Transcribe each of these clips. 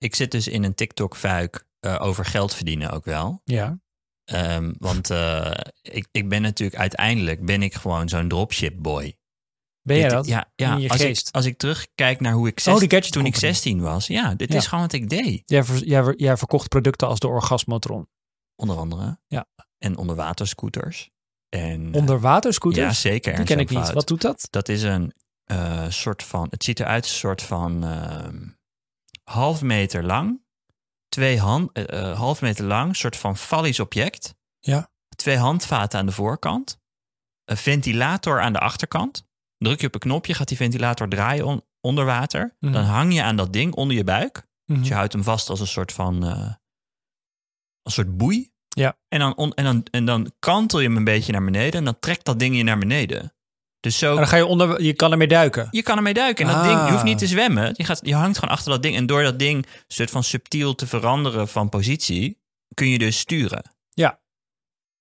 ik zit dus in een TikTok-fuik eh, over geld verdienen ook wel. Ja. Ehm, want eh, ik, ik ben natuurlijk uiteindelijk ben ik gewoon zo'n dropship boy. Ben jij Dit- dat? Ja, ja In je als, ik, geest? Oh, als ik terugkijk naar hoe ik die 16 gadget toen ik company. 16 was. Ja, dit Ja. is gewoon wat ik deed. Jij, ver- jij, ver- jij verkocht producten als de Orgasmotron. Onder andere. Ja. En onderwaterscooters. En, Onderwaterscooters? Ja, zeker. Die ken ik niet. Ernst-Jan Wat doet dat? Dat is een eh, soort van. Het ziet eruit als een soort van. ehm, half meter lang. Twee hand. eh, eh, half meter lang. soort van fallies object. Ja. Twee handvaten aan de voorkant. Een ventilator aan de achterkant. Druk je op een knopje, gaat die ventilator draaien on- onder water. Mhm. Dan hang je aan dat ding onder je buik. Dus je Mhm. houdt hem vast als een soort van. eh, een soort boei. Ja. En dan, on- en, dan, en dan kantel je hem een beetje naar beneden. En dan trekt dat ding je naar beneden. Dus zo En dan ga je onder... Je kan ermee duiken. je kan ermee duiken. En dat Ah. ding, je hoeft niet te zwemmen. Je, gaat, je hangt gewoon achter dat ding. En door dat ding een soort van subtiel te veranderen van positie, kun je dus sturen.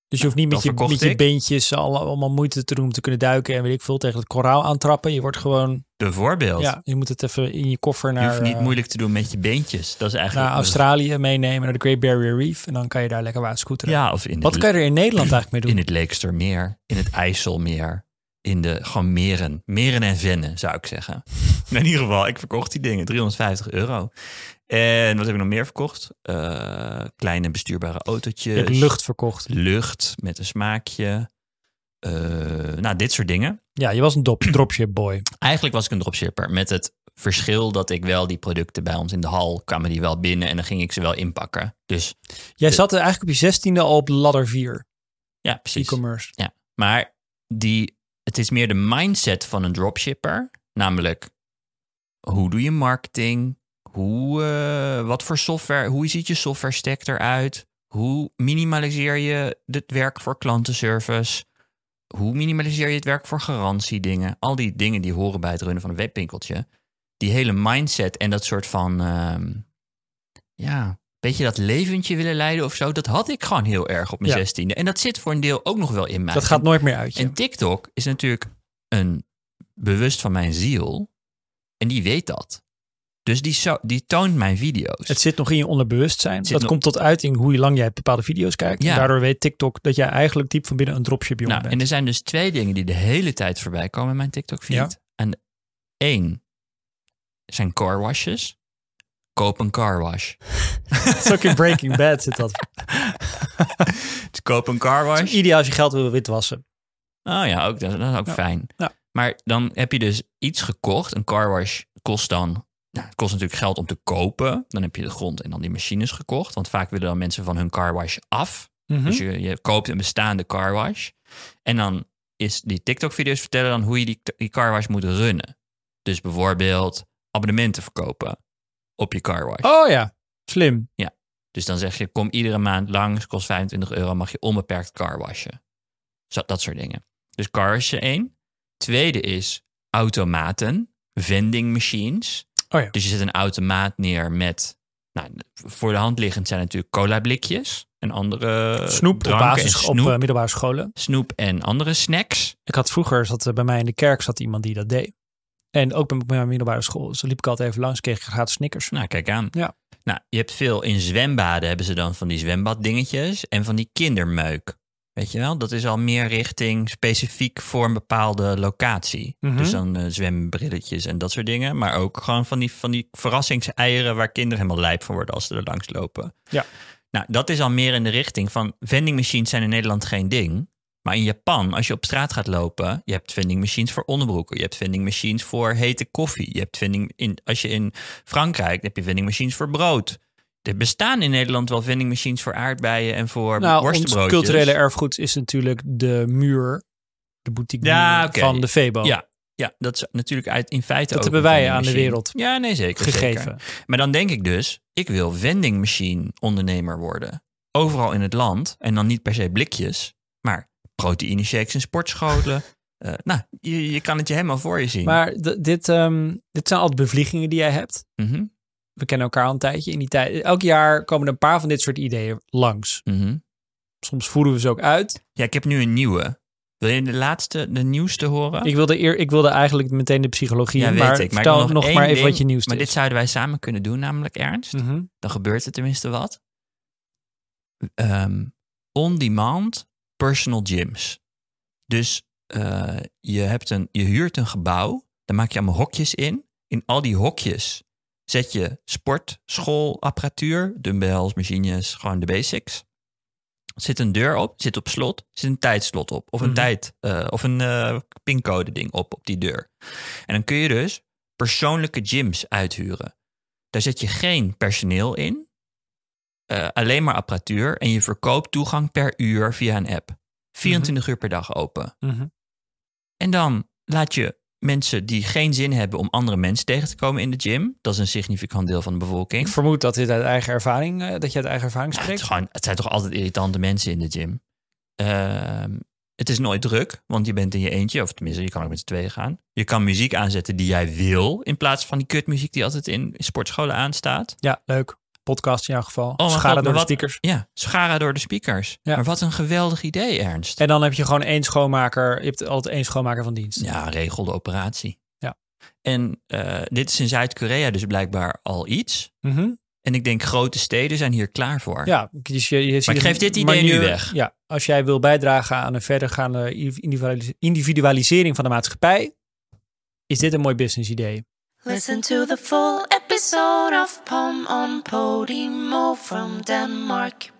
Dus je hoeft niet met, dat je, verkocht met je ik. beentjes al- allemaal moeite te doen om te kunnen duiken. En weet ik veel, tegen het koraal aantrappen. Je wordt gewoon... Bijvoorbeeld. Ja, je moet het even in je koffer je naar... hoeft niet eh, moeilijk te doen met je beentjes. Dat is eigenlijk. naar Australië meenemen, naar de Great Barrier Reef. En dan kan je daar lekker waterscooteren. Ja, of in, Wat het, kan je er in Nederland eigenlijk mee doen? in het Leekstermeer, in het IJsselmeer, in de gewoon meren. Meren en vennen, zou ik zeggen. in ieder geval, ik verkocht die dingen. 350 euro. En wat heb ik nog meer verkocht? Eh, kleine bestuurbare autootjes. Je hebt lucht verkocht. lucht met een smaakje. Eh, nou, dit soort dingen. Ja, je was een dop, dropship boy. Eigenlijk was ik een dropshipper met het verschil dat ik wel die producten bij ons in de hal kwamen die wel binnen en dan ging ik ze wel inpakken. Dus Jij Ja. zat er eigenlijk op je zestiende al op ladder 4, ja, precies. e-commerce. Maar die, het is meer de mindset van een dropshipper. Namelijk, hoe doe je marketing? Hoe, eh, wat voor software, hoe ziet je software stack eruit? Hoe minimaliseer je het werk voor klantenservice? Hoe minimaliseer je het werk voor garantiedingen? Al die dingen die horen bij het runnen van een webwinkeltje. Die hele mindset en dat soort van, ehm, ja, beetje dat leventje willen leiden of zo. Dat had ik gewoon heel erg op mijn Ja. zestiende. En dat zit voor een deel ook nog wel in mij. Dat gaat nooit meer uit. je. En TikTok is natuurlijk een bewust van mijn ziel. En die weet dat. Dus die, zo- die toont mijn video's. Het zit nog in je onderbewustzijn. zit Dat nog- komt tot uit in hoe lang jij bepaalde video's kijkt. Ja. En daardoor weet TikTok dat jij eigenlijk diep van binnen een dropship jongen nou, en bent. er zijn dus twee dingen die de hele tijd voorbij komen in mijn TikTok feed. Ja. En één zijn car washes. Koop een car wash. Het is ook in Breaking Bad zit dat. Dus koop een car Het is ideaal als je geld wil witwassen. Oh ja, ook, dat, dat is ook Ja. fijn. Ja. Maar dan heb je dus iets gekocht. Een car wash kost dan... Nou, het kost natuurlijk geld om te kopen. Dan heb je de grond en dan die machines gekocht. Want vaak willen dan mensen van hun car wash af. Mhm. Dus je, je koopt een bestaande car wash. En dan is die TikTok-video's vertellen dan hoe je die, die car wash moet runnen. Dus bijvoorbeeld abonnementen verkopen op je car wash. Oh ja, slim. Dus dan zeg je, kom iedere maand langs, kost 25 euro, mag je onbeperkt car washen. Zo, dat soort dingen. Dus car washen één. Tweede is automaten, vending machines. Oh ja. Dus je zet een automaat neer met, nou, voor de hand liggend zijn natuurlijk cola blikjes en andere Snoep op, dranken Eh, en basis, op snoep, eh, middelbare scholen. snoep en andere snacks. Ik had vroeger, zat, eh, bij mij in de kerk zat iemand die dat deed. En ook bij bij mijn middelbare school. Dus dan liep ik altijd even langs, kreeg ik gratis snickers. Nou, kijk aan. Ja. Nou, je hebt veel in zwembaden hebben ze dan van die zwembaddingetjes en van die kindermeuk. Weet je wel, dat is al meer richting specifiek voor een bepaalde locatie. Mhm. Dus dan eh, zwembrilletjes en dat soort dingen. Maar ook gewoon van die, van die verrassingseieren waar kinderen helemaal lijp van worden als ze er langs lopen. Ja. Nou, dat is al meer in de richting van vending machines zijn in Nederland geen ding. Maar in Japan, als je op straat gaat lopen, je hebt vending machines voor onderbroeken, je hebt vending machines voor hete koffie, je hebt vending in, als je in Frankrijk heb je vending machines voor brood. Er bestaan in Nederland wel vending machines voor aardbeien en voor Nou, ons worstenbroodjes. culturele erfgoed is natuurlijk de muur, de boutique Ja, muur oké. van de Febo. Ja, ja, dat is natuurlijk uit, in feite Dat ook hebben een wij aan de vendingmachine. wereld ja, nee, zeker, gegeven. zeker. Maar dan denk ik dus, ik wil vending machine ondernemer worden. Overal in het land en dan niet per se blikjes, maar proteïne shakes en sportscholen. Eh, nou, je, je kan het je helemaal voor je zien. Maar d- dit, ehm, dit zijn altijd bevliegingen die jij hebt. Mhm, We kennen elkaar al een tijdje. In die tijd, elk jaar komen er een paar van dit soort ideeën langs. mhm. Soms voeren we ze ook uit. Ja, ik heb nu een nieuwe. Wil je de laatste, de nieuwste horen? Ik wilde, eer, ik wilde eigenlijk meteen de Oh. psychologie, ja, in, weet maar ik. Maar ik vertel wil nog, één maar even ding, wat je nieuwste Maar is. dit zouden wij samen kunnen doen, namelijk Ernst. Mhm. Dan gebeurt er tenminste wat. Ehm, On-demand personal gyms. Dus eh, je, hebt een, je huurt een gebouw, daar maak je allemaal hokjes in. In al die hokjes zet je sport, schoolapparatuur, dumbbells, machines, gewoon de basics. Er zit een deur op, zit op slot, zit een tijdslot op. Of een Mhm. tijd, eh, of een eh, pincode ding op, op die deur. En dan kun je dus persoonlijke gyms uithuren. Daar zet je geen personeel in, eh, alleen maar apparatuur. En je verkoopt toegang per uur via een app. 24 uur per dag open. Mhm. En dan laat je mensen die geen zin hebben om andere mensen tegen te komen in de gym. Dat is een significant deel van de bevolking. Ik vermoed dat dit uit eigen ervaring, eh, dat je uit eigen ervaring Ja, het, spreekt. is gewoon, het zijn toch altijd irritante mensen in de gym. Ehm, het is nooit druk, want je bent in je eentje. Of tenminste, je kan ook met z'n tweeën gaan. Je kan muziek aanzetten die jij wil. In plaats van die kutmuziek die altijd in sportscholen aanstaat. Ja, leuk. Podcast in jouw geval. mijn Schade God, Oh, maar door de wat- stickers. Ja, schara door de speakers. Ja. Maar wat een geweldig idee, Ernst. En dan heb je gewoon één schoonmaker. Je hebt altijd één schoonmaker van dienst. Ja, regel de operatie. Ja. En eh, dit is in Zuid-Korea dus blijkbaar al iets. Mhm. En ik denk grote steden zijn hier klaar voor. Ja, dus je, je ziet ik een geef dit idee nu manier- weg. Ja, als jij wil bijdragen aan een verdergaande individualis- individualisering van de maatschappij, is dit een mooi business idee. Listen to the full episode of Pom on Podimo from Denmark.